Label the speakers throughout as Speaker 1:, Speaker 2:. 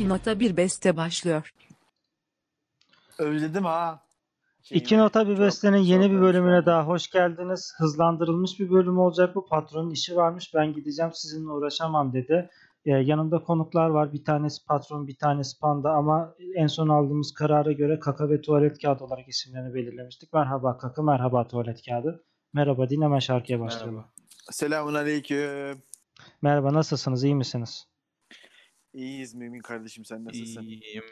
Speaker 1: nota bir beste başlıyor.
Speaker 2: Özledim ha. Şeyi.
Speaker 3: İki Nota Bir
Speaker 2: Çok
Speaker 3: Beste'nin yeni bir
Speaker 2: güzel
Speaker 3: bölümüne
Speaker 2: konuşma.
Speaker 3: daha hoş geldiniz. Hızlandırılmış bir bölüm olacak bu. Patronun işi varmış ben gideceğim sizinle uğraşamam dedi. Ee, yanımda konuklar var. Bir tanesi patron bir tanesi panda ama en son aldığımız karara göre kaka ve tuvalet kağıdı olarak isimlerini belirlemiştik. Merhaba kaka merhaba tuvalet kağıdı. Merhaba din hemen şarkıya başlayalım. Merhaba.
Speaker 2: Selamun aleyküm.
Speaker 3: nasılsınız iyi misiniz?
Speaker 2: İyiyiz mümin kardeşim sen nasılsın?
Speaker 4: İyiyim.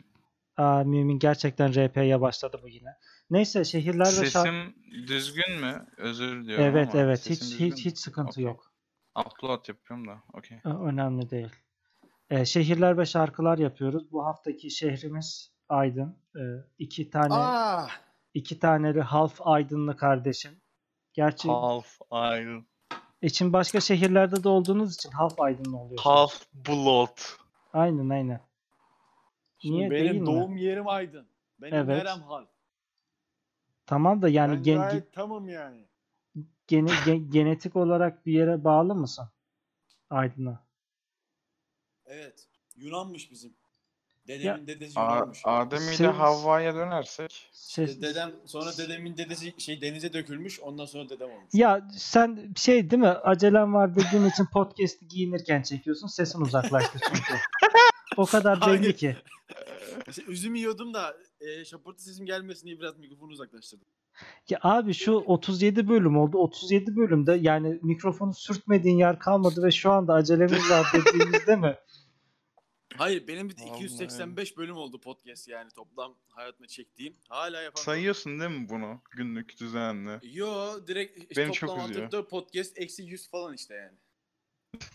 Speaker 3: Aa, mümin gerçekten RP'ye başladı bu yine. Neyse şehirler ve şarkı...
Speaker 4: Sesim düzgün mü? Özür diliyorum
Speaker 3: Evet
Speaker 4: ama
Speaker 3: evet
Speaker 4: sesim
Speaker 3: hiç
Speaker 4: düzgün mü?
Speaker 3: hiç hiç sıkıntı
Speaker 4: Okey.
Speaker 3: yok.
Speaker 4: Upload yapıyorum da. Okey.
Speaker 3: Ö- Önemli değil. Ee, şehirler ve şarkılar yapıyoruz. Bu haftaki şehrimiz Aydın. Ee, iki tane
Speaker 2: Aa,
Speaker 3: iki taneli half Aydınlı kardeşim. Gerçi
Speaker 4: Half Iron.
Speaker 3: Şey- için başka şehirlerde de olduğunuz için half Aydınlı oluyorsunuz.
Speaker 4: Half Blood.
Speaker 3: Aynen aynen.
Speaker 2: şimdi
Speaker 3: Niye değil
Speaker 2: benim
Speaker 3: mi?
Speaker 2: doğum yerim Aydın. Benim
Speaker 3: Evet.
Speaker 2: nerem hal.
Speaker 3: Tamam da yani
Speaker 2: ben
Speaker 3: gen-
Speaker 2: gayet tamam yani.
Speaker 3: gene- gen- genetik olarak bir yere bağlı mısın? Aydın'a.
Speaker 5: Evet. Yunanmış bizim. Dedemin
Speaker 3: Ya-
Speaker 5: dedesi
Speaker 4: Ar-
Speaker 3: Şey-
Speaker 5: Yunanmış.
Speaker 4: Adem ile
Speaker 3: Siz-
Speaker 4: Havva'ya dönersek.
Speaker 3: Ses-
Speaker 5: Dedem sonra dedemin dedesi şey denize dökülmüş. Ondan sonra dedem olmuş.
Speaker 3: Ya sen şey değil mi? Acelem var dediğin için podcast'i giyinirken çekiyorsun. Sesin uzaklaştı çünkü. o kadar belli
Speaker 5: Hayır.
Speaker 3: ki.
Speaker 5: İşte üzüm Ee, yiyordum da e, şaportu sesim gelmesin diye biraz mikrofonu uzaklaştırdım.
Speaker 3: Ya abi şu 37 bölüm oldu. 37 bölümde yani mikrofonu sürtmediğin yer kalmadı ve şu anda acelemiz var dediğimizde mi?
Speaker 5: Hayır benim bir
Speaker 4: Vallahi.
Speaker 5: 285 bölüm oldu podcast yani toplam hayatımda çektiğim. Hala yapamadım.
Speaker 4: Sayıyorsun değil mi bunu? Günlük düzenli.
Speaker 5: Yo direkt işte
Speaker 4: Beni çok
Speaker 5: toplam
Speaker 4: üzüyor.
Speaker 5: 64 podcast eksi 100 falan işte yani.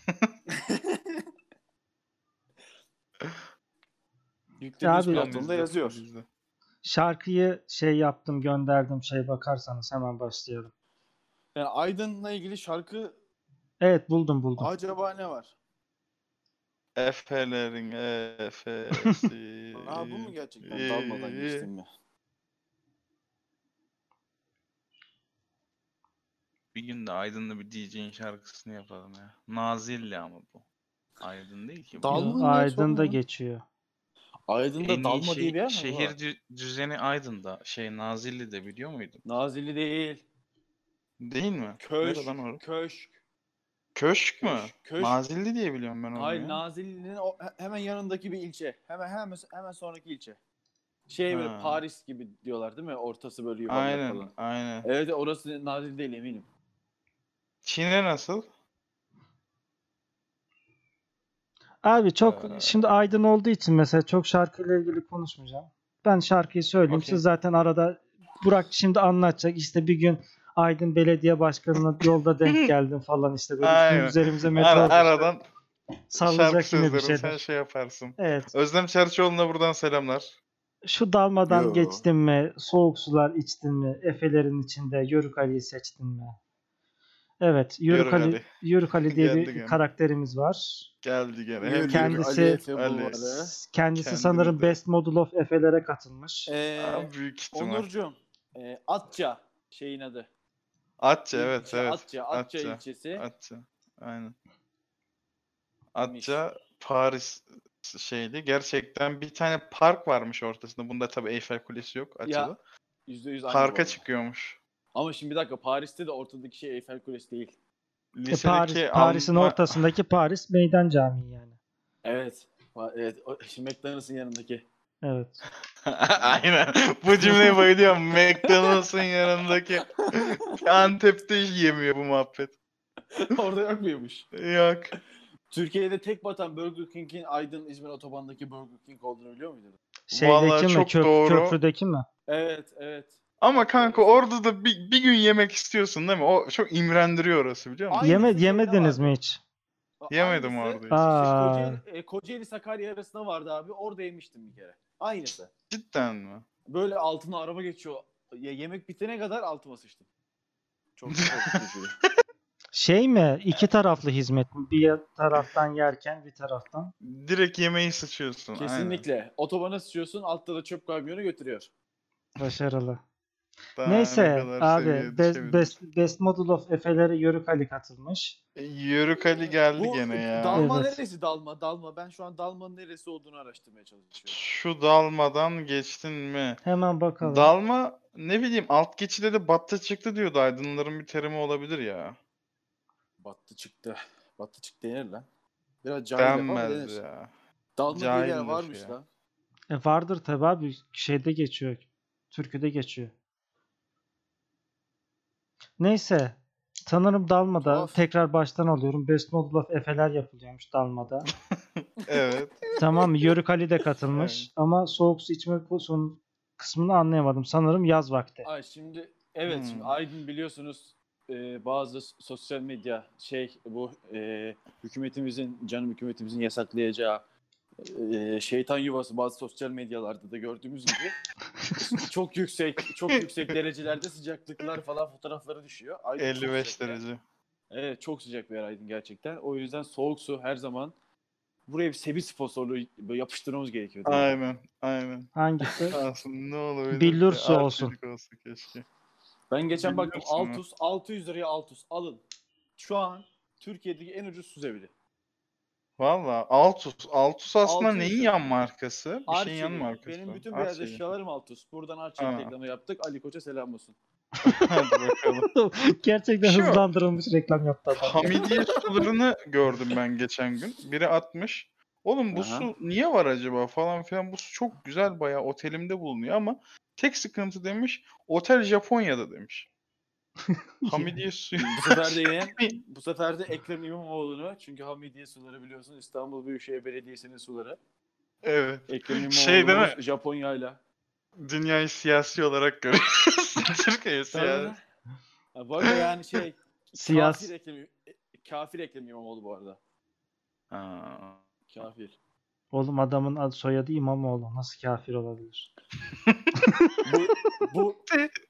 Speaker 2: Yüklediğiniz
Speaker 3: Abi-
Speaker 2: platformda yazıyor.
Speaker 4: Bizde.
Speaker 3: Şarkıyı şey yaptım gönderdim şey bakarsanız hemen başlayalım.
Speaker 2: Yani Aydın'la ilgili şarkı
Speaker 3: Evet buldum buldum.
Speaker 2: acaba ne var?
Speaker 4: Efelerin efesi.
Speaker 2: Aa bu mu gerçekten?
Speaker 4: ee,
Speaker 2: Dalmadan geçtim mi?
Speaker 4: Bir gün de Aydın'la bir DJ'in şarkısını yapalım ya. Nazilli ama bu. Aydın değil ki bu.
Speaker 2: Dal- Dalma
Speaker 3: Yo,
Speaker 2: ya,
Speaker 3: Aydın'da
Speaker 2: sorma.
Speaker 3: geçiyor.
Speaker 2: Aydın'da
Speaker 4: En iyi
Speaker 2: dalma
Speaker 4: şey-
Speaker 2: diye bir yer mi?
Speaker 4: Şehir
Speaker 2: var?
Speaker 4: dü- düzeni Aydın'da. Şey Nazilli'de biliyor muydun?
Speaker 2: Nazilli değil.
Speaker 4: Değil mi?
Speaker 2: Köşk.
Speaker 4: Nerede lan orası?
Speaker 2: Köşk.
Speaker 4: Köşk mü?
Speaker 2: Köşk, köşk.
Speaker 4: Nazilli diye biliyorum ben onu.
Speaker 2: Hayır
Speaker 4: ya.
Speaker 2: Nazilli'nin o- he- hemen yanındaki bir ilçe. Hemen hemen hemen sonraki ilçe. Şey böyle
Speaker 4: Ha.
Speaker 2: Paris gibi diyorlar değil mi? Ortası böyle yuvarlak
Speaker 4: Aynen,
Speaker 2: falan.
Speaker 4: aynen.
Speaker 2: Evet orası Nazilli değil eminim.
Speaker 4: Çin'e nasıl?
Speaker 3: Abi çok
Speaker 4: Ee.
Speaker 3: şimdi Aydın olduğu için mesela çok şarkıyla ilgili konuşmayacağım. Ben şarkıyı söyleyeyim.
Speaker 4: Okey.
Speaker 3: Siz zaten arada Burak şimdi anlatacak. İşte bir gün Aydın Belediye Başkanı'na yolda denk geldim falan işte böyle
Speaker 4: Aynen.
Speaker 3: bizim üzerimize
Speaker 4: Ara-
Speaker 3: metal
Speaker 4: aradan şarkı
Speaker 3: sallayacak yine bir
Speaker 4: sözlerini
Speaker 3: şeyler.
Speaker 4: sen şey yaparsın.
Speaker 3: Evet.
Speaker 4: Özlem Çerçioğlu'na buradan selamlar.
Speaker 3: Şu dalmadan
Speaker 2: Yo.
Speaker 3: geçtin mi? Soğuk sular içtin mi? Efelerin içinde Yörük Ali'yi seçtin mi? Evet, Yörük,
Speaker 4: Yörük
Speaker 3: Ali,
Speaker 4: Ali.
Speaker 3: Yörük Ali diye
Speaker 4: Geldi
Speaker 3: bir
Speaker 4: gene.
Speaker 3: karakterimiz var.
Speaker 4: Geldi gene.
Speaker 2: Yürü,
Speaker 3: kendisi-
Speaker 2: Ali Efe
Speaker 4: Ali.
Speaker 2: Bulvarı.
Speaker 3: Kendisi
Speaker 4: Kendini
Speaker 3: sanırım
Speaker 4: de-
Speaker 3: Best Model of Efe'lere katılmış.
Speaker 2: Ee,
Speaker 4: Aa, büyük ihtimal.
Speaker 2: Onurcuğum. E, Atça şeyin adı.
Speaker 4: Atça evet
Speaker 2: İlçe,
Speaker 4: evet.
Speaker 2: Atça, Atça,
Speaker 4: Atça.
Speaker 2: ilçesi.
Speaker 4: Atça. Aynen. Atça Paris şeydi. Gerçekten bir tane park varmış ortasında. Bunda tabii Eyfel Kulesi yok Atça'da.
Speaker 2: Yüzde yüz aynı bu
Speaker 4: Parka
Speaker 2: arada.
Speaker 4: çıkıyormuş.
Speaker 2: Ama şimdi bir dakika Paris'te de ortadaki şey Eyfel Kulesi değil.
Speaker 3: E, Paris,
Speaker 4: Lisedeki
Speaker 3: Paris'in
Speaker 4: Alman-
Speaker 3: ortasındaki Paris Meydan Camii yani.
Speaker 2: Evet. Pa- Evet. o- Şimdi McDonald's'ın yanındaki.
Speaker 3: Evet.
Speaker 4: Aynen. Bu cümleye bayılıyorum. McDonald's'ın yanındaki Antep'te yemiyor bu muhabbet.
Speaker 2: Orada yok muymuş?
Speaker 4: Yok.
Speaker 2: Türkiye'de tek batan Burger King'in Aydın İzmir otobandaki Burger King olduğunu biliyor muydunuz?
Speaker 3: Şeydeki mi?
Speaker 4: çok
Speaker 3: Köp-
Speaker 4: doğru.
Speaker 3: Köprüdeki mi?
Speaker 2: Evet, evet.
Speaker 4: Ama kanka orada da bir, bir gün yemek istiyorsun değil mi? O çok imrendiriyor orası biliyor musun?
Speaker 2: Aynı
Speaker 3: Yeme-
Speaker 2: şeyde
Speaker 3: yemediniz
Speaker 2: var.
Speaker 3: mi hiç?
Speaker 2: A-
Speaker 4: Yemedim
Speaker 2: aynısı,
Speaker 4: orada. hiç.
Speaker 3: Aa.
Speaker 2: işte Kocaeli, e, Kocaeli Sakarya arasında vardı abi. Orada yemiştim bir kere. Aynısı.
Speaker 4: Cidden mi?
Speaker 2: Böyle altına araba geçiyor. Ya yemek bitene kadar altıma sıçtım. Çok korkutucu.
Speaker 3: Şey mi? İki taraflı hizmet mi? Bir taraftan yerken bir taraftan.
Speaker 4: Direkt yemeği sıçıyorsun. aynen.
Speaker 2: Kesinlikle. Otobana sıçıyorsun, altta da çöp kamyonu götürüyor.
Speaker 3: Başarılı.
Speaker 4: Daha
Speaker 3: Neyse
Speaker 4: ne kadar
Speaker 3: abi
Speaker 4: seviyeye
Speaker 3: best,
Speaker 4: düşebiliriz?
Speaker 3: best, best Model of Efe'lere Yörük Ali katılmış.
Speaker 4: E, Yörük Ali geldi gene ya.
Speaker 5: Dalma
Speaker 3: Evet.
Speaker 5: neresi dalma dalma. Ben şu an dalmanın neresi olduğunu araştırmaya çalışıyorum.
Speaker 4: Şu dalmadan geçtin mi?
Speaker 3: Hemen bakalım.
Speaker 4: Dalma ne bileyim alt geçide de battı çıktı diyordu aydınların bir terimi olabilir ya.
Speaker 5: Battı çıktı. Battı çıktı denir lan. Biraz cahil ama
Speaker 4: Denmez
Speaker 5: denir.
Speaker 4: ya.
Speaker 5: Dalma diye bir yer
Speaker 4: Cahildir
Speaker 5: varmış
Speaker 4: ya.
Speaker 5: lan.
Speaker 3: E, vardır tabi abi şeyde geçiyor. Türküde geçiyor. Neyse. Sanırım Dalma'da
Speaker 5: Tuhaf.
Speaker 3: tekrar baştan alıyorum. Best Model of Efe'ler yapılıyormuş Dalma'da.
Speaker 4: Evet.
Speaker 3: tamam Yörük Ali de katılmış. Ama soğuk su içme son kısmını anlayamadım. Sanırım yaz vakti.
Speaker 2: Ay şimdi evet şimdi
Speaker 4: Hmm.
Speaker 2: Aydın biliyorsunuz e, bazı s- sosyal medya şey bu e, hükümetimizin canım hükümetimizin yasaklayacağı e, şeytan yuvası bazı sosyal medyalarda da gördüğümüz gibi çok yüksek çok yüksek derecelerde sıcaklıklar falan fotoğrafları düşüyor. Aydın çok
Speaker 4: 55
Speaker 2: sıcak bir yer.
Speaker 4: derece.
Speaker 2: Evet çok sıcak bir yer Aydın gerçekten. O yüzden soğuk su her zaman buraya bir sebi sponsorluğu böyle yapıştırmamız gerekiyor.
Speaker 4: Aynen. Aynen.
Speaker 3: Hangisi?
Speaker 4: Aslında ne olabilir?
Speaker 3: Billur
Speaker 4: ki?
Speaker 3: su olsun.
Speaker 4: Arçelik olsa keşke.
Speaker 2: Ben geçen baktım
Speaker 4: Biliyorsun ya.
Speaker 2: Altus 600 liraya Altus alın. Şu an Türkiye'deki en ucuz su evleri.
Speaker 4: Valla Altus. Altus aslında
Speaker 2: Altus.
Speaker 4: neyin yan markası? Bir şeyin yan
Speaker 2: Arçelik.
Speaker 4: markası.
Speaker 2: Benim bütün beyaz
Speaker 4: Arçelik.
Speaker 2: eşyalarım Altus. Buradan Arçelik
Speaker 4: Ha.
Speaker 2: reklamı yaptık. Ali Koç'a selam olsun.
Speaker 4: Hadi bakalım.
Speaker 3: Gerçekten
Speaker 4: Şu-
Speaker 3: hızlandırılmış reklam yaptı adam.
Speaker 4: Hamidiye sularını gördüm ben geçen gün. Biri atmış. Oğlum bu
Speaker 2: Aha.
Speaker 4: su niye var acaba falan filan. Bu su çok güzel bayağı otelimde bulunuyor ama tek sıkıntı demiş. Otel Japonya'da demiş. Hamidiye suyu.
Speaker 2: Bu sefer de yine bu sefer de Ekrem İmamoğlu'nu çünkü Hamidiye suları biliyorsun İstanbul Büyükşehir Belediyesi'nin suları.
Speaker 4: Evet.
Speaker 2: Ekrem İmamoğlu
Speaker 4: Şey değil mi?
Speaker 2: Japonya'yla.
Speaker 4: Dünyayı siyasi olarak görüyorsun. Türkiye'yi siyasi.
Speaker 2: Ha, Bu arada yani şey
Speaker 3: Siyas.
Speaker 2: kafir Ekrem, e, kafir Ekrem İmamoğlu bu arada.
Speaker 4: Ha.
Speaker 2: Kafir.
Speaker 3: Oğlum adamın adı soyadı İmamoğlu. Nasıl kafir olabilir?
Speaker 2: Bu, bu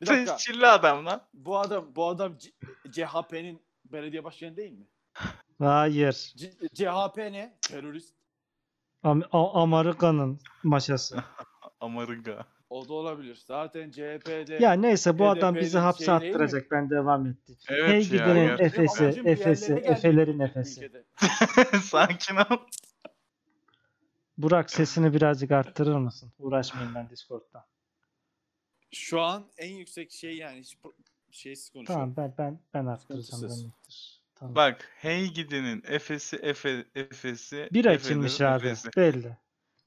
Speaker 2: bir dakika.
Speaker 4: Tescilli adam lan.
Speaker 2: Bu adam bu adam C- CHP'nin belediye başkanı değil mi?
Speaker 3: Hayır.
Speaker 2: C- CHP ne? Terörist.
Speaker 3: Am- A- Amerika'nın maşası.
Speaker 4: Amarıga.
Speaker 2: O da olabilir. Zaten CHP'de
Speaker 3: Ya neyse bu
Speaker 2: HDP'nin
Speaker 3: adam bizi
Speaker 2: şey
Speaker 3: hapse
Speaker 2: değil
Speaker 3: attıracak. Ben devam ettim.
Speaker 4: Evet
Speaker 3: hey
Speaker 4: ya,
Speaker 3: gidelim
Speaker 4: gerçekten.
Speaker 3: Efes'e,
Speaker 2: Benim amacım bir
Speaker 3: Efes'e,
Speaker 2: yerlere gelmek
Speaker 3: Efe'lerin
Speaker 2: bu
Speaker 3: Efes'e.
Speaker 2: ülkede.
Speaker 4: Sakin ol.
Speaker 3: Burak sesini birazcık arttırır mısın? Uğraşmayayım ben Discord'da.
Speaker 5: Şu an en yüksek şey yani hiç pro- şeysiz
Speaker 2: şey
Speaker 5: konuşuyorum.
Speaker 3: Tamam ben ben ben arttıracağım.
Speaker 5: Sıkıntısız.
Speaker 3: demektir. Tamam.
Speaker 4: Bak hey gidinin Efes'i Efe, Efes'i.
Speaker 3: Bir açılmış
Speaker 4: Efelerin
Speaker 3: abi
Speaker 4: Efesi.
Speaker 3: belli.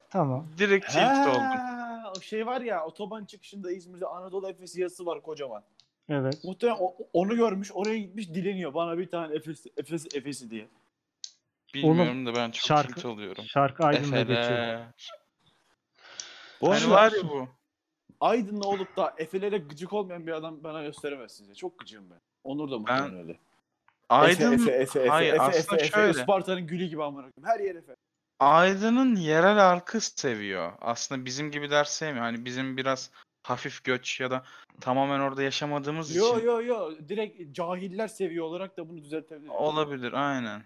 Speaker 3: Tamam.
Speaker 4: Direkt tilt oldum.
Speaker 2: Ha, o şey var ya otoban çıkışında İzmir'de Anadolu Efes yazısı var kocaman.
Speaker 3: Evet.
Speaker 2: Muhtemelen o- onu görmüş oraya gitmiş dileniyor bana bir tane Efes Efes Efes'i diye.
Speaker 4: Bilmiyorum
Speaker 3: Oğlum,
Speaker 4: da ben çok
Speaker 3: şarkı-
Speaker 4: tilt oluyorum.
Speaker 3: Şarkı Aydın'da geçiyor.
Speaker 4: Efeler.
Speaker 2: Bu
Speaker 4: Hani
Speaker 2: arada
Speaker 4: var ya bu.
Speaker 2: Aydın'la olup da Efe'lere gıcık olmayan bir adam bana gösteremezsiniz. ya. Çok gıcığım ben. Onur da muhtemelen öyle.
Speaker 4: Aydın
Speaker 2: Efe, Efe, Efe,
Speaker 4: Hayır,
Speaker 2: Efe,
Speaker 4: aslında
Speaker 2: Efe, Efe,
Speaker 4: şöyle.
Speaker 2: Isparta'nın gülü gibi amına koyayım. Her yer Efe.
Speaker 4: Aydın'ın yerel arkı seviyor. Aslında bizim gibiler sevmiyor. Hani bizim biraz hafif göç ya da tamamen orada yaşamadığımız
Speaker 2: Yo
Speaker 4: için
Speaker 2: yo yo direkt cahiller seviyor olarak da bunu düzeltebiliriz.
Speaker 4: olabilir aynen.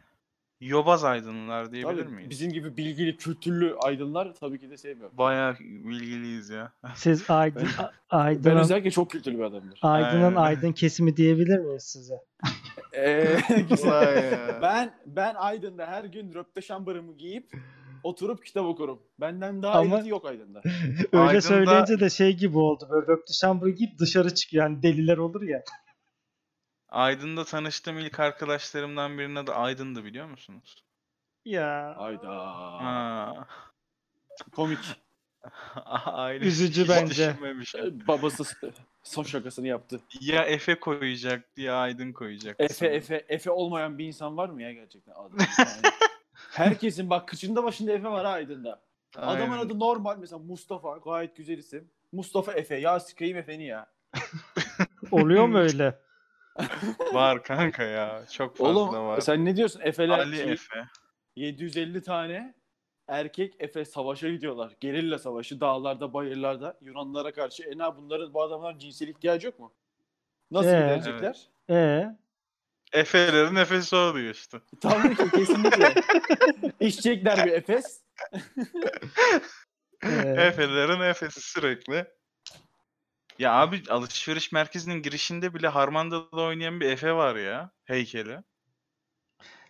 Speaker 4: Yobaz Aydınlılar diyebilir
Speaker 2: Tabii,
Speaker 4: miyiz?
Speaker 2: Bizim gibi bilgili, kültürlü aydınlar tabii ki de sevmiyor.
Speaker 4: Bayağı bilgiliyiz ya.
Speaker 3: Siz Aydın
Speaker 2: Ben- Ben
Speaker 3: Aydın'ın
Speaker 2: özellikle çok kültürlü bir adamdır.
Speaker 3: Aydın'ın
Speaker 4: Aynen.
Speaker 3: Aydın kesimi diyebilir miyiz size?
Speaker 2: Ee, güzel.
Speaker 4: Vay ya.
Speaker 2: ben ben Aydın'da her gün röpte şambarımı giyip oturup kitap okurum. Benden daha
Speaker 3: Ama-
Speaker 2: eliti yok Aydın'da.
Speaker 3: Öyle
Speaker 4: Aydın'da-
Speaker 3: söyleyince de şey gibi oldu. Böyle röptüşambur giyip dışarı çıkıyor. Yani deliler olur ya.
Speaker 4: Aydın'da tanıştığım ilk arkadaşlarımdan birinin adı Aydın'dı biliyor musunuz?
Speaker 3: Ya.
Speaker 2: Hayda.
Speaker 4: Ha.
Speaker 2: Komik.
Speaker 4: Aile
Speaker 3: Üzücü
Speaker 4: hiç
Speaker 3: bence.
Speaker 4: düşünmemiş.
Speaker 2: Ee, Babası s- son şakasını yaptı.
Speaker 4: Ya Efe koyacak ya Aydın koyacak.
Speaker 2: Efe Efe Efe olmayan bir insan var mı ya gerçekten? Adam- yani herkesin bak kıçında başında Efe var ha Aydın'da. Adamın adı normal mesela Mustafa gayet güzel isim. Mustafa Efe ya sikeyim Efe'ni ya.
Speaker 3: Oluyor mu öyle?
Speaker 4: var kanka ya. Çok fazla
Speaker 2: Oğlum
Speaker 4: var.
Speaker 2: sen şey- ne diyorsun? Efe'ler
Speaker 4: Ali
Speaker 2: şimdi
Speaker 4: Efe.
Speaker 2: 750 tane erkek Efe savaşa gidiyorlar. Gerilla savaşı dağlarda bayırlarda Yunanlara karşı. E ne bunların bu adamların cinsel ihtiyacı yok mu? Nasıl
Speaker 3: Ee?
Speaker 2: giderecekler?
Speaker 3: Ee,
Speaker 4: Efe'lerin Efe'si oluyor işte.
Speaker 2: Tabii ki E, kesinlikle. İçecekler bir Efes.
Speaker 3: ee.
Speaker 4: Efe'lerin Efe'si sürekli. Ya abi alışveriş merkezinin girişinde bile Harmanda'da oynayan bir Efe var ya heykeli.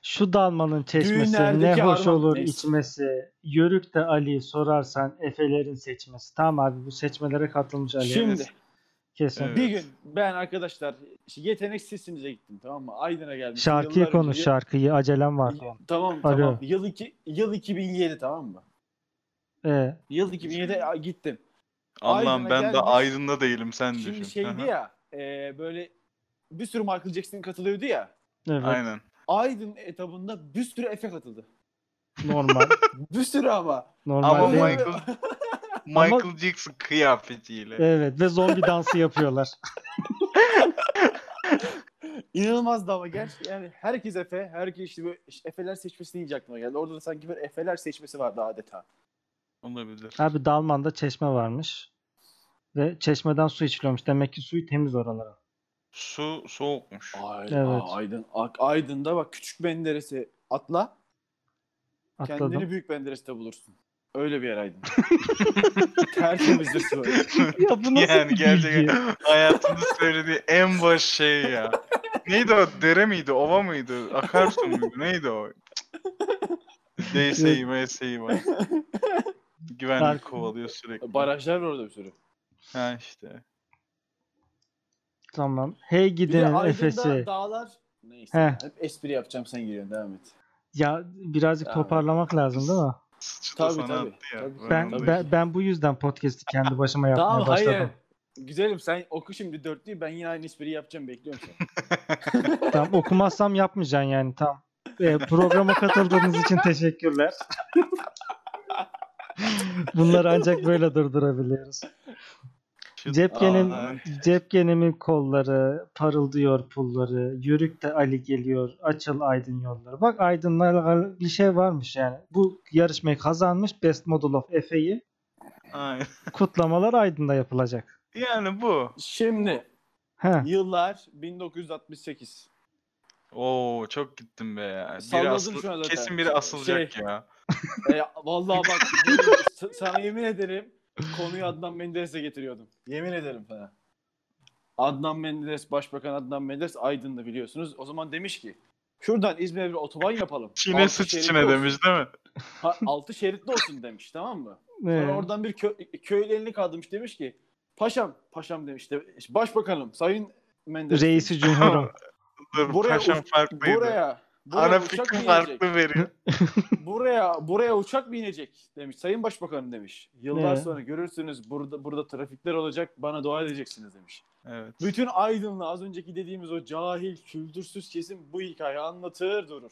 Speaker 3: Şu dalmanın çeşmesi ne
Speaker 2: Düğünlerdeki
Speaker 3: hoş
Speaker 2: harman,
Speaker 3: olur
Speaker 2: neyse.
Speaker 3: içmesi. Yörük de Ali sorarsan Efelerin seçmesi. Tamam abi bu seçmelere katılmış Ali.
Speaker 2: Şimdi
Speaker 3: Kesin.
Speaker 4: Evet.
Speaker 2: bir gün ben arkadaşlar yetenek sesimize gittim tamam mı? Aydın'a geldim.
Speaker 3: Şarkıyı konuş şarkıyı. Acelem var.
Speaker 2: Tamam
Speaker 3: Alo.
Speaker 2: tamam. Yıl, iki, yıl 2007 tamam mı?
Speaker 3: Ee,
Speaker 2: Yıl 2007 gittim.
Speaker 4: Allah'ım
Speaker 2: Aydın'a
Speaker 4: ben de
Speaker 2: gelmiş.
Speaker 4: aydında değilim sen düşün.
Speaker 2: Şimdi şey şeydi ya e, böyle bir sürü Michael Jackson katılıyordu ya.
Speaker 3: evet
Speaker 4: Aynen.
Speaker 2: Aydın etabında bir sürü Efe katıldı.
Speaker 3: normal.
Speaker 2: Bir sürü ama.
Speaker 3: Normal
Speaker 4: Ama
Speaker 3: değil.
Speaker 2: Normalde-
Speaker 4: Michael Michael Jackson kıyafetiyle.
Speaker 3: Evet ve zombi dansı yapıyorlar.
Speaker 2: İnanılmazdı ama gerçi yani herkes Efe, herkes işte böyle işte Efe'ler seçmesi deyince aklıma geldi. Orada da sanki bir Efe'ler seçmesi vardı adeta.
Speaker 4: Olabilir.
Speaker 3: Abi Dalman'da çeşme varmış. Ve çeşmeden su içiliyormuş. Demek ki suyu temiz oralara.
Speaker 4: Su soğukmuş.
Speaker 2: Ay,
Speaker 3: Evet.
Speaker 2: aa, Aydın, A- Aydın'da bak küçük benderesi atla,
Speaker 3: Atladım.
Speaker 2: kendini büyük bendereste bulursun. Öyle bir yer Aydın. Tertemizdir su.
Speaker 3: Ya bu nasıl
Speaker 4: yani
Speaker 3: bir bilgi?
Speaker 4: gerçekten hayatımda söylediği en baş şey ya. Neydi o? Dere miydi? Ova mıydı? Akarsu muydu? Neydi o? DSI, MSI var.
Speaker 3: Fark-
Speaker 4: Güvenlik kovalıyor sürekli.
Speaker 2: Barajlar var orada bir sürü.
Speaker 4: Ha işte.
Speaker 3: Tamam. Hey
Speaker 2: Bir de
Speaker 3: gidin
Speaker 2: Aydın'da
Speaker 3: Efes'i.
Speaker 2: dağlar neyse.
Speaker 3: Heh.
Speaker 2: Hep espri yapacağım sen giriyorsun devam et.
Speaker 3: Ya birazcık
Speaker 2: Ya.
Speaker 3: toparlamak lazım değil mi?
Speaker 4: Sıçtı
Speaker 2: Tabii,
Speaker 4: sana
Speaker 2: tabii.
Speaker 4: attı ya.
Speaker 2: Tabii,
Speaker 4: Ben
Speaker 3: Ben,
Speaker 4: onu-
Speaker 2: tabii.
Speaker 3: ben ben bu yüzden podcast'i kendi başıma yapmaya
Speaker 2: Tamam, hayır.
Speaker 3: başladım.
Speaker 2: Güzelim sen oku şimdi dörtlüyü ben yine aynı espriyi yapacağım bekliyorum seni.
Speaker 3: Tamam okumazsam yapmayacaksın yani tamam. Ee, programa katıldığınız için teşekkürler. Bunları ancak böyle durdurabiliyoruz.
Speaker 4: Şu-
Speaker 3: Cepkenin
Speaker 4: Aa,
Speaker 3: cepkenimin kolları parıldıyor pulları. Yörükte Ali geliyor. Açıl aydın yolları. Bak aydınla alakalı bir şey varmış yani. Bu yarışmayı kazanmış Best Model of Efe'yi.
Speaker 4: aynen.
Speaker 3: Kutlamalar aydında yapılacak.
Speaker 4: Yani bu.
Speaker 2: Şimdi
Speaker 3: He.
Speaker 2: yıllar 1968.
Speaker 4: Oo çok gittim be ya. Biri
Speaker 2: Salladım
Speaker 4: asıl,
Speaker 2: şu an zaten.
Speaker 4: kesin biri asılacak
Speaker 2: Şey-
Speaker 4: ya.
Speaker 2: E, vallahi bak s- sana yemin ederim konuyu Adnan Menderes'e getiriyordum. Yemin ederim sana. Adnan Menderes, Başbakan Adnan Menderes Aydın'da biliyorsunuz. O zaman demiş ki şuradan İzmir'e bir otoban yapalım.
Speaker 4: Çin'e
Speaker 2: Altı
Speaker 4: sıç
Speaker 2: şeritli
Speaker 4: Çin'e
Speaker 2: olsun."
Speaker 4: demiş değil mi?
Speaker 2: Ha, altı şeritli olsun demiş tamam mı?
Speaker 3: Ee,
Speaker 2: Sonra oradan bir kö- köylü elini kaldırmış demiş ki paşam paşam demiş de başbakanım sayın Menderes.
Speaker 3: reisi cumhurum.
Speaker 4: Dur
Speaker 2: Buraya
Speaker 4: paşam
Speaker 2: uç-
Speaker 4: farklıydı.
Speaker 2: buraya buraya
Speaker 4: Ana
Speaker 2: uçak
Speaker 4: fikri
Speaker 2: mı inecek?
Speaker 4: farklı veriyor.
Speaker 2: Buraya buraya uçak mı inecek demiş sayın başbakanım demiş. Yıllar
Speaker 3: Ee?
Speaker 2: sonra görürsünüz burada burada trafikler olacak bana dua edeceksiniz demiş.
Speaker 4: Evet.
Speaker 2: Bütün Aydın'la az önceki dediğimiz o cahil kültürsüz kesim bu hikayeyi anlatır durur.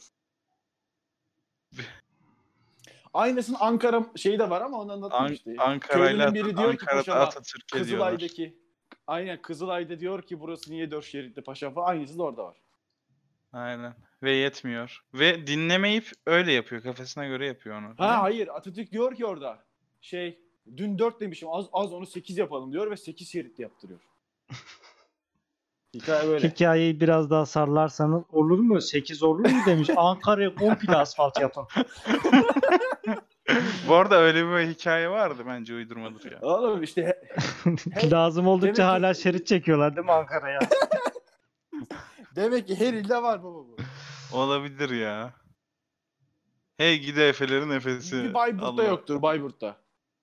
Speaker 2: Aynısının Ankara şeyi de var ama onu
Speaker 4: An-
Speaker 2: anlatmamıştı.
Speaker 4: Ankara'yla
Speaker 2: Köylünün biri diyor ki
Speaker 4: Ankara'da
Speaker 2: paşama,
Speaker 4: Atatürk'e diyorlar.
Speaker 2: Kızılay'daki aynen Kızılay'da diyor ki burası niye dört şeritli paşa falan aynısı da orada var.
Speaker 4: Aynen. Ve yetmiyor. Ve dinlemeyip öyle yapıyor. Kafasına göre yapıyor onu.
Speaker 2: Ha hayır Atatürk diyor ki orada şey dün 4 demişim az az onu 8 yapalım diyor ve 8 şeritli yaptırıyor. Hikaye böyle.
Speaker 3: Hikayeyi biraz daha sarlarsanız olur mu? 8 olur mu demiş. Ankara'ya komple asfalt yapın.
Speaker 4: Bu arada öyle bir hikaye vardı bence uydurmadır ya.
Speaker 2: Oğlum işte he- Hey,
Speaker 3: Lazım
Speaker 2: demek
Speaker 3: oldukça
Speaker 2: ki-
Speaker 3: hala şerit çekiyorlar değil mi Ankara'ya?
Speaker 2: demek ki her ilde var baba bu.
Speaker 4: Olabilir ya. Hey gidi Efelerin Efesi.
Speaker 2: Bir Bayburt'ta
Speaker 4: Şey, Allah.
Speaker 2: yoktur Bayburt'ta.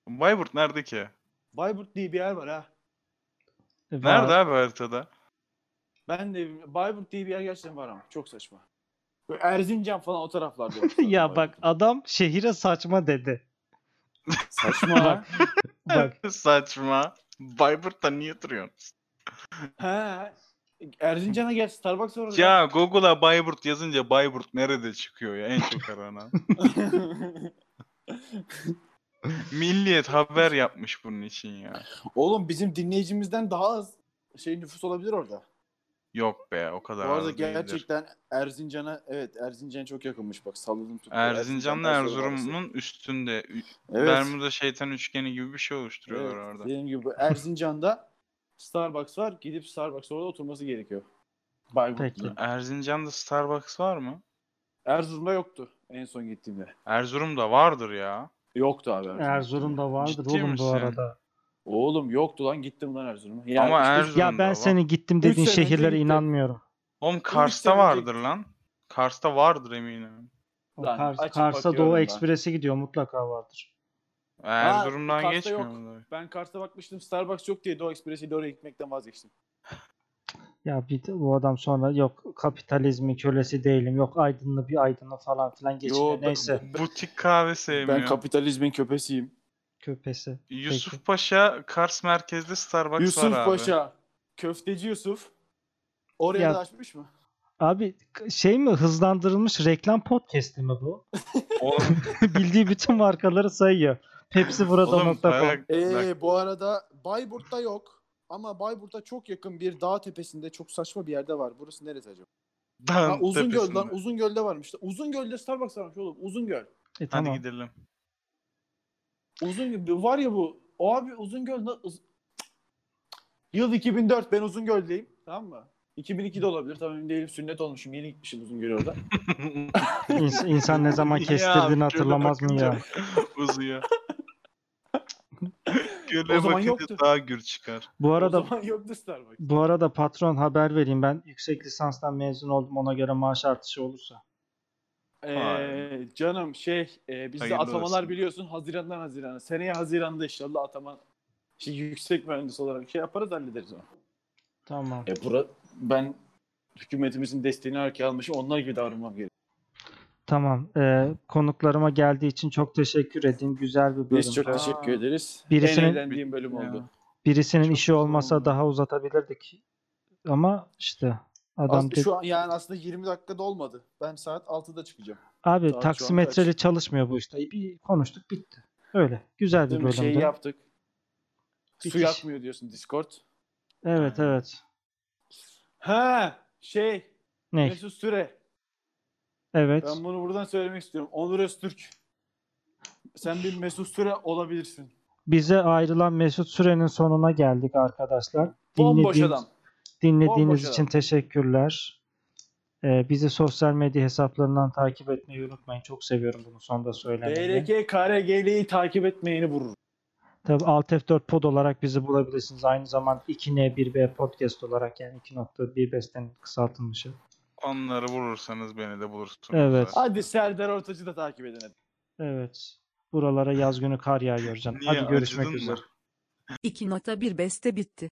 Speaker 4: Bayburt nerede ki?
Speaker 2: Bayburt diye bir yer var ha.
Speaker 4: Nerede abi haritada?
Speaker 2: Ben de Bayburt diye bir yer gerçekten var ama çok saçma. Böyle Erzincan falan o taraflarda. yok.
Speaker 3: ya bak adam şehire saçma dedi.
Speaker 2: saçma. ha.
Speaker 3: Bak
Speaker 4: Saçma. Bayburt'ta niye duruyorsun?
Speaker 2: ha. Erzincan'a gel Starbucks var orada.
Speaker 4: Ya Google'a Bayburt yazınca Bayburt nerede çıkıyor ya en çok aranan. Milliyet haber yapmış bunun için ya.
Speaker 2: Oğlum bizim dinleyicimizden daha az şey nüfus olabilir orada.
Speaker 4: Yok be o kadar
Speaker 2: Bu arada
Speaker 4: az değildir.
Speaker 2: gerçekten Erzincan'a evet Erzincan çok yakınmış bak salladım tuttum.
Speaker 4: Erzincan'la
Speaker 2: Erzincan'dan sonra orası.
Speaker 4: Erzurum'un üstünde. Ü-
Speaker 2: evet,
Speaker 4: Bermuda şeytan üçgeni gibi bir şey oluşturuyorlar
Speaker 2: evet,
Speaker 4: orada.
Speaker 2: Dediğim gibi Erzincan'da Starbucks var. Gidip Starbucks'a orada oturması gerekiyor. Bayburt'ta.
Speaker 3: Peki.
Speaker 4: Erzincan'da Starbucks var mı?
Speaker 2: Erzurum'da yoktu en son gittiğimde.
Speaker 4: Erzurum'da vardır ya.
Speaker 2: Yoktu abi. Erzurum'da.
Speaker 3: Erzurum'da vardır
Speaker 4: Ciddi
Speaker 3: oğlum
Speaker 4: misin?
Speaker 3: bu arada.
Speaker 2: Oğlum yoktu lan gittim lan Erzurum'a. Yani
Speaker 4: Ama
Speaker 2: işte-
Speaker 4: Erzurum-
Speaker 3: Ya ben
Speaker 4: Zorunda
Speaker 3: seni gittim dediğin
Speaker 2: Üç sene önce
Speaker 3: şehirlere
Speaker 2: gitti.
Speaker 3: inanmıyorum.
Speaker 4: Oğlum
Speaker 5: sene
Speaker 4: Kars'ta
Speaker 5: önce-
Speaker 4: vardır lan. Kars'ta vardır eminim.
Speaker 3: O
Speaker 2: Lan
Speaker 3: Kars,
Speaker 2: açıp
Speaker 3: Kars'a
Speaker 2: bakıyorum
Speaker 3: Doğu
Speaker 2: ben.
Speaker 3: Ekspres'e gidiyor mutlaka vardır.
Speaker 4: Erzurum'dan
Speaker 2: Kars'ta
Speaker 4: geçmiyor
Speaker 2: yok.
Speaker 4: mu?
Speaker 2: Ben Kars'ta bakmıştım Starbucks yok diye Doğu Ekspresi'yle oraya gitmekten vazgeçtim.
Speaker 3: Ya bir de bu adam sonra yok kapitalizmin kölesi değilim. Yok aydınlı bir aydınlı falan filan geçine
Speaker 2: Yo, ben-
Speaker 3: neyse
Speaker 4: Butik kahve sevmiyor.
Speaker 2: Ben kapitalizmin köpesiyim.
Speaker 3: köpesi.
Speaker 4: Yusuf
Speaker 3: Peki.
Speaker 4: Paşa Kars merkezde Starbucks var
Speaker 2: Yusuf
Speaker 4: abi.
Speaker 2: Paşa. Köfteci Yusuf. Oraya
Speaker 3: Ya-
Speaker 2: da açmış mı?
Speaker 3: Abi k- şey mi hızlandırılmış reklam podcast'i mi bu?
Speaker 4: Oğlum,
Speaker 3: Bildiği bütün markaları sayıyor. Pepsi
Speaker 4: oğlum
Speaker 3: burada.com.
Speaker 4: bak- bak,
Speaker 5: Ee, bu arada Bayburt'ta yok. Ama Bayburt'a çok yakın bir dağ tepesinde çok saçma bir yerde var. Burası neresi acaba?
Speaker 4: dağın
Speaker 5: Ha, uzun göl lan.
Speaker 4: tepesinde.
Speaker 5: Uzun gölde varmış. Uzun gölde Starbucks varmış oğlum. Uzun göl.
Speaker 3: E,
Speaker 4: Hadi
Speaker 3: tamam.
Speaker 4: gidelim.
Speaker 5: Uzun göl var ya bu. O abi uzun göl. na- uz-
Speaker 2: Yıl 2004 ben Uzungöl'deyim. Tamam mı? 2002'de olabilir. Tamam emin değilim. Sünnet olmuşum. Yeni gitmişim Uzungöl'e orada.
Speaker 3: İns- İnsan ne zaman
Speaker 4: Ya,
Speaker 3: kestirdiğini
Speaker 4: göle
Speaker 3: hatırlamaz mı ya?
Speaker 4: bakınca Uzuyor. Göle
Speaker 2: O zaman
Speaker 4: bakınca
Speaker 2: yoktu.
Speaker 4: daha gür çıkar.
Speaker 3: Bu
Speaker 2: Arada... O
Speaker 3: arada
Speaker 2: zaman yoktu Starbucks.
Speaker 3: bu arada patron haber vereyim ben yüksek lisanstan mezun oldum ona göre maaş artışı olursa.
Speaker 2: Ee, canım şey e, bizde
Speaker 4: Hayırlı
Speaker 2: atamalar
Speaker 4: olsun.
Speaker 2: biliyorsun Haziran'dan Haziran'a. Seneye Haziran'da inşallah atama şey, yüksek mühendis olarak şey yaparız hallederiz onu.
Speaker 3: Tamam.
Speaker 2: E, bura, ben hükümetimizin desteğini arkaya almışım. Onlar gibi davranmam gerekiyor.
Speaker 3: Tamam. Ee, konuklarıma geldiği için çok teşekkür edeyim. Güzel bir bölüm.
Speaker 2: Biz çok
Speaker 4: Aa.
Speaker 2: teşekkür ederiz.
Speaker 3: Birisinin-
Speaker 2: En eğlendiğim bölüm
Speaker 4: Ya.
Speaker 2: oldu.
Speaker 3: Birisinin
Speaker 4: Çok
Speaker 3: işi
Speaker 4: güzel
Speaker 3: olmasa
Speaker 4: oldu.
Speaker 3: daha uzatabilirdik. Ama işte adam
Speaker 5: As-
Speaker 3: dedi-
Speaker 5: şu an yani aslında 20 dakikada olmadı. Ben saat 6'da çıkacağım.
Speaker 3: abi
Speaker 2: şu an
Speaker 3: taksimetreli çalışmıyor bu işte. Bir konuştuk bitti. Öyle. Güzel bir
Speaker 2: Değil mi?
Speaker 3: bölümdü.
Speaker 2: Şeyi yaptık. Su
Speaker 3: Bitiş.
Speaker 2: yakmıyor diyorsun Discord.
Speaker 3: Evet evet.
Speaker 2: Ha şey
Speaker 3: Ne?
Speaker 2: Mesut Süre.
Speaker 3: Evet.
Speaker 2: Ben bunu buradan söylemek istiyorum. Onur Öztürk. Sen bir Mesut Süre olabilirsin.
Speaker 3: Bize ayrılan Mesut Süren'in sonuna geldik arkadaşlar.
Speaker 2: Bomboş
Speaker 3: Dinlediğiniz-
Speaker 2: adam.
Speaker 3: Dinlediğiniz
Speaker 2: Bomboş
Speaker 3: için teşekkürler. Ee, bizi sosyal medya hesaplarından takip etmeyi unutmayın. Çok seviyorum bunu sonda söylemeyi.
Speaker 2: BRK KRG'liyi takip etmeyeni vurur.
Speaker 3: Tabii Alt F4 Pod olarak bizi bulabilirsiniz. Aynı zamanda 2N1B Podcast olarak yani 2.1B'den kısaltılmışı.
Speaker 4: Onları vurursanız beni de bulursunuz.
Speaker 3: Evet.
Speaker 2: Hadi Serdar Ortaç'ı da takip edin. hadi.
Speaker 3: Evet. Buralara yaz günü kar yağıyor hocam.
Speaker 4: Niye,
Speaker 3: Hadi görüşmek
Speaker 4: acıdın mı?
Speaker 3: üzere.
Speaker 1: 2.1 beste bitti.